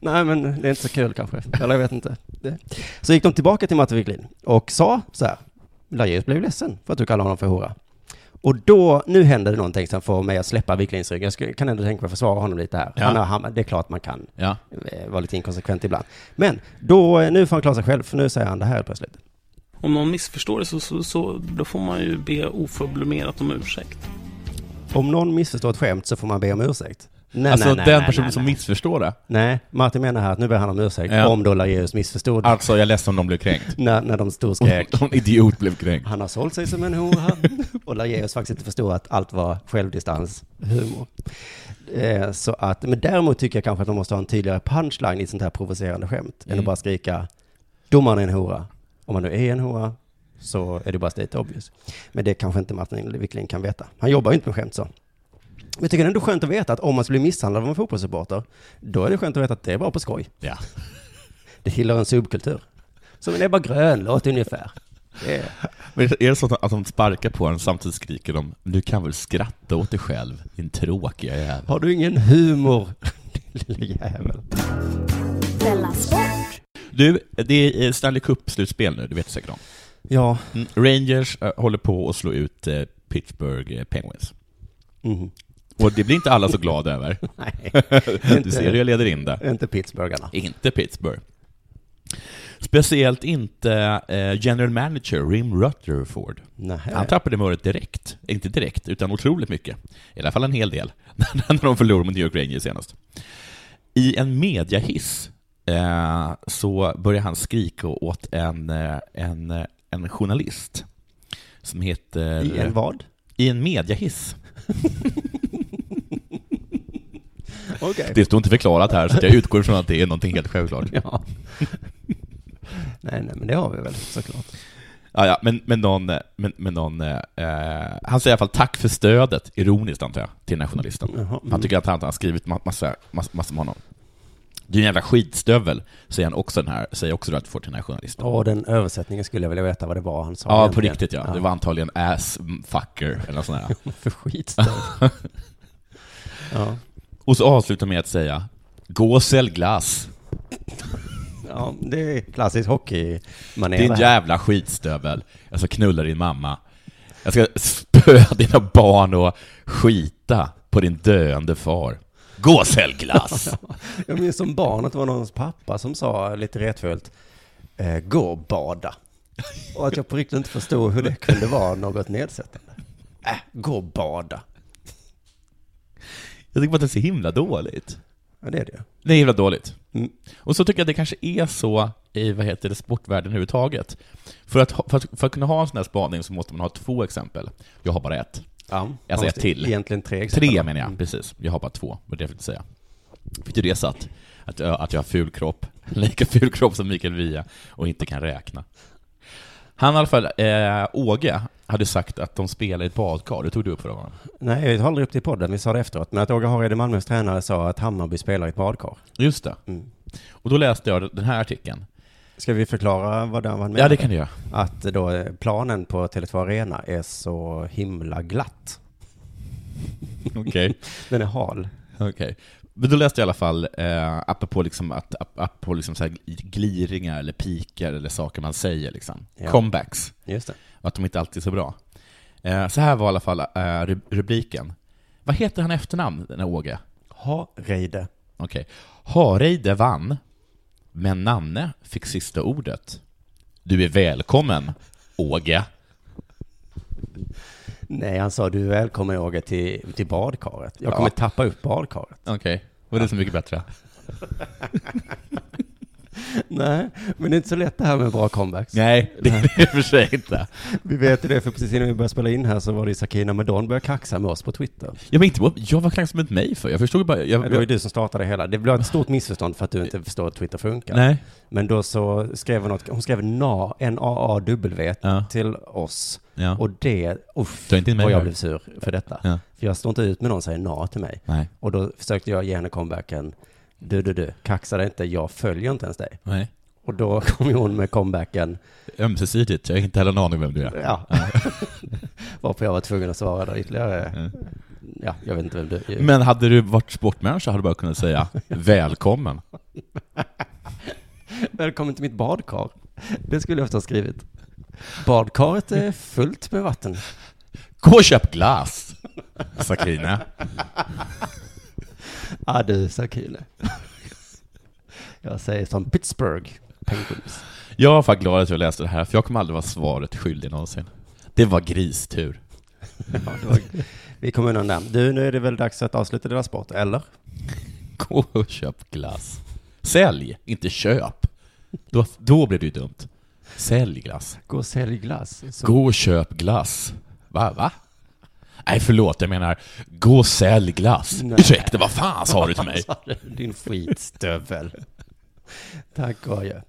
Speaker 1: Nej, men det är inte så kul kanske. Eller jag vet inte. Det. Så gick de tillbaka till Matte Wiklin och sa så här. Lajeus blev ledsen för att du kallar honom för hora. Och då, nu händer det någonting som får mig att släppa Wiklins rygg. Jag skulle- kan ändå tänka mig att försvara honom lite här.
Speaker 2: Ja.
Speaker 1: Han har, hamnat- det är klart man kan
Speaker 2: Ja.
Speaker 1: eh, vara lite inkonsekvent ibland. Men då, eh, nu får han klara sig själv, för nu säger han det här plötsligt.
Speaker 4: Om någon missförstår det så, så, så då får man ju be oförblommerat om ursäkt.
Speaker 1: Om någon missförstår ett skämt så får man be om ursäkt. Nej,
Speaker 2: alltså
Speaker 1: nej, nej,
Speaker 2: den
Speaker 1: nej,
Speaker 2: personen
Speaker 1: nej,
Speaker 2: som
Speaker 1: nej.
Speaker 2: missförstår det.
Speaker 1: Nej, Martin menar här att nu ber han om ursäkt
Speaker 2: Ja.
Speaker 1: om då Lajeus missförstod.
Speaker 2: Alltså, jag är ledsen om de blev kränkt.
Speaker 1: När, när de storskrek.
Speaker 2: Om en idiot blev kränkt.
Speaker 1: Han har sålt sig som en hora. Och Lageus faktiskt inte förstod att allt var självdistanshumor. Eh, så att, men däremot tycker jag kanske att man måste ha en tydligare punchline i ett sånt här provocerande skämt. Än
Speaker 2: Mm.
Speaker 1: att bara skrika domaren är en hora. Om man nu är en hora så är det bara state obvious. Men det kanske inte Martin Wiklin kan veta. Han jobbar ju inte med skämt så. Men jag tycker det är ändå skönt att veta att om man skulle bli misshandlad av en fotbollssupporter, då är det skönt att veta att det är bara på skoj.
Speaker 2: Ja.
Speaker 1: Det tillhör en subkultur. Som en Ebba Grön-låt ungefär. Det är-
Speaker 2: Men är det så att, att de sparkar på en samtidigt skriker de ”Du kan väl skratta åt dig själv, din tråkiga jävel”?
Speaker 1: Har du ingen humor, din lilla jävel?
Speaker 11: Della Sport.
Speaker 2: Du, det är eh, Stanley Cup-slutspel nu, det vet du säkert om.
Speaker 1: Ja.
Speaker 2: Mm, Rangers eh, håller på att slå ut eh, Pittsburgh eh, Penguins.
Speaker 1: Mm.
Speaker 2: Och det blir inte alla så glada över.
Speaker 1: Nej.
Speaker 2: du ser hur jag leder in det.
Speaker 1: Inte Pittsburgharna.
Speaker 2: Inte Pittsburgh. Speciellt inte eh, general manager Rim Rutherford.
Speaker 1: Nej.
Speaker 2: Han tappade humöret direkt. Inte direkt, utan otroligt mycket. I alla fall en hel del. När de förlorade mot New York Rangers senast. I en mediahiss eh, så börjar han skrika åt en, eh, en, eh, en journalist som heter...
Speaker 1: I en vad?
Speaker 2: I en mediahiss.
Speaker 1: Okej.
Speaker 2: Det står inte förklarat här, så att jag utgår från att det är någonting helt självklart.
Speaker 1: Ja. Nej, nej, men det har vi väl såklart.
Speaker 2: Ja, ja, men, men någon, men, men någon eh, eh, han säger i alla fall tack för stödet, ironiskt antar jag, till den här journalisten.
Speaker 1: Jaha, mm.
Speaker 2: Han tycker att han har skrivit ma- massa, massa, massa om honom. Du är en jävla skitstövel, säger han också den här, säger också Rutherford till den här journalisten.
Speaker 1: Och den översättningen skulle jag vilja veta vad det var han sa.
Speaker 2: ja, på
Speaker 1: egentligen.
Speaker 2: riktigt ja. Det var antagligen ass fucker eller något sånt där.
Speaker 1: För skitstövel. ja.
Speaker 2: Och så avslutar med att säga, gå och sälj glass,
Speaker 1: ja, det är klassisk hockey
Speaker 2: din jävla skitstövel. Jag ska knulla din mamma. Jag ska spöa dina barn och skita på din döende far. Gå och sälj glass!
Speaker 1: Jag minns som barn att det var någons pappa som sa lite retfullt, eh, gå och bada. Och att jag på riktigt inte förstod hur det kunde vara något nedsättande. Äh, gå och bada.
Speaker 2: Jag tycker bara att det är så himla dåligt.
Speaker 1: Ja, det är det ju.
Speaker 2: Det är himla dåligt.
Speaker 1: Mm.
Speaker 2: Och så tycker jag att det kanske är så i, vad heter det, sportvärlden överhuvudtaget. För att, ha- för att, för att kunna ha en sån här spaning så måste man ha två exempel. Jag har bara ett.
Speaker 1: Ja,
Speaker 2: Jag säger
Speaker 1: fast
Speaker 2: till.
Speaker 1: Egentligen tre exempel.
Speaker 2: Tre menar jag, precis. Jag har bara två, var det jag försökte säga. Fick du det satt? Att jag, att jag har ful kropp, lika ful kropp som Mikael Wiehe och inte kan räkna. Han i alla fall, eh, Åge, hade sagt att de spelar i ett badkar, det tog du upp förra gången.
Speaker 1: Nej, jag tar aldrig upp det i podden, vi sa det efteråt. Men att Åge Hareide, Malmös tränare, sa att Hammarby spelar i ett badkar.
Speaker 2: Just det.
Speaker 1: Mm.
Speaker 2: Och då läste jag den här artikeln.
Speaker 1: Ska vi förklara vad han menade?
Speaker 2: Ja, det kan du göra.
Speaker 1: Att då eh, planen på Tele2 Arena är så himla glatt.
Speaker 2: Okej.
Speaker 1: Den är hal.
Speaker 2: Okej. Men då läste jag i alla fall, eh, apropå, liksom att, ap- apropå liksom så här gliringar eller pikar eller saker man säger, liksom.
Speaker 1: Ja.
Speaker 2: comebacks,
Speaker 1: Just det.
Speaker 2: och att de inte alltid är så bra. Eh, så här var i alla fall eh, ru- rubriken. Vad heter han i efternamn, den här Åge?
Speaker 1: Hareide.
Speaker 2: Okej. Hareide vann, men Nanne fick sista ordet. Du är välkommen, Åge.
Speaker 1: Nej, han sa du är välkommen Åge till, till badkaret. Jag kommer
Speaker 2: Ja.
Speaker 1: tappa upp badkaret.
Speaker 2: Okej, var det så mycket bättre?
Speaker 1: Nej, men det är inte så lätt det här med bra comebacks.
Speaker 2: Nej, det är det i och för sig inte.
Speaker 1: Vi vet ju det, för precis innan vi började spela in här så var det ju Sakina Medon började kaxa med oss på Twitter.
Speaker 2: Jag men inte på, jag var kaxig mot mig för. Jag förstod ju bara... Jag,
Speaker 1: Det var ju du som startade det hela. Det blev ett stort missförstånd för att du inte förstår hur Twitter funkar.
Speaker 2: Nej.
Speaker 1: Men då så skrev hon något, hon skrev NA, N-A-A-W till oss.
Speaker 2: Ja.
Speaker 1: Och det, uff,
Speaker 2: Ta inte in mig
Speaker 1: vad jag
Speaker 2: här.
Speaker 1: blev sur för detta.
Speaker 2: Ja.
Speaker 1: För jag står inte ut med någon säger NA till mig.
Speaker 2: Nej.
Speaker 1: Och då försökte jag ge henne comebacken, du, du, du, kaxa dig inte, jag följer inte ens dig.
Speaker 2: Nej.
Speaker 1: Och då kom ju hon med comebacken,
Speaker 2: Ömsesidigt. Jag har inte heller en aning vem du är.
Speaker 1: ja. Varpå jag var tvungen att svara där ytterligare. Ja, jag vet inte vem du är.
Speaker 2: Men hade du varit sportmänniska hade du bara kunnat säga välkommen.
Speaker 1: Välkommen till mitt badkar. Det skulle jag ofta ha skrivit. Badkaret är fullt med vatten.
Speaker 2: Gå och köp glass, Sakina.
Speaker 1: Ja du, Sakine. Jag säger som Pittsburgh Penguins.
Speaker 2: Jag var faktiskt glad att jag läste det här, för jag kommer aldrig vara svaret skyldig någonsin. Det var gristur.
Speaker 1: Vi kommer undan där. Du, nu är det väl dags att avsluta deras sport, eller?
Speaker 2: Gå och köp glass. Sälj, inte köp. Då, då blir det ju dumt. Sälj glass.
Speaker 1: Gå och sälj glass. Så-
Speaker 2: Gå och köp glass. Va, va? Nej, förlåt, jag menar, gå och sälj glass.
Speaker 1: Nej.
Speaker 2: Ursäkta, vad fan sa du till mig?
Speaker 1: Din skitstövel. Tack och adjö.